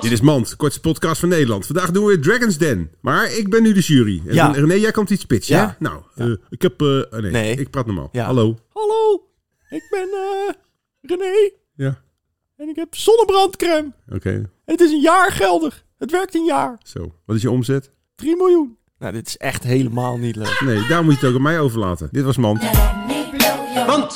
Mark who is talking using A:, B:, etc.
A: Dit is Mand, kortste podcast van Nederland. Vandaag doen we Dragon's Den. Maar ik ben nu de jury. En
B: Ja.
A: René, jij komt iets pitchen,
B: Ja.
A: hè? Nou, eh, ik heb... eh, oh nee,
B: Nee.
A: ik praat normaal.
B: Ja.
A: Hallo.
B: Hallo, ik ben eh, René
A: Ja,
B: en ik heb zonnebrandcrème.
A: oké.
B: En het is een jaar geldig. Het werkt een jaar.
A: Zo. Wat is je omzet?
B: 3 miljoen. Nou, dit is echt helemaal niet leuk.
A: Nee, daar moet je het ook aan mij overlaten. Dit was Mand.
C: Now let me blow your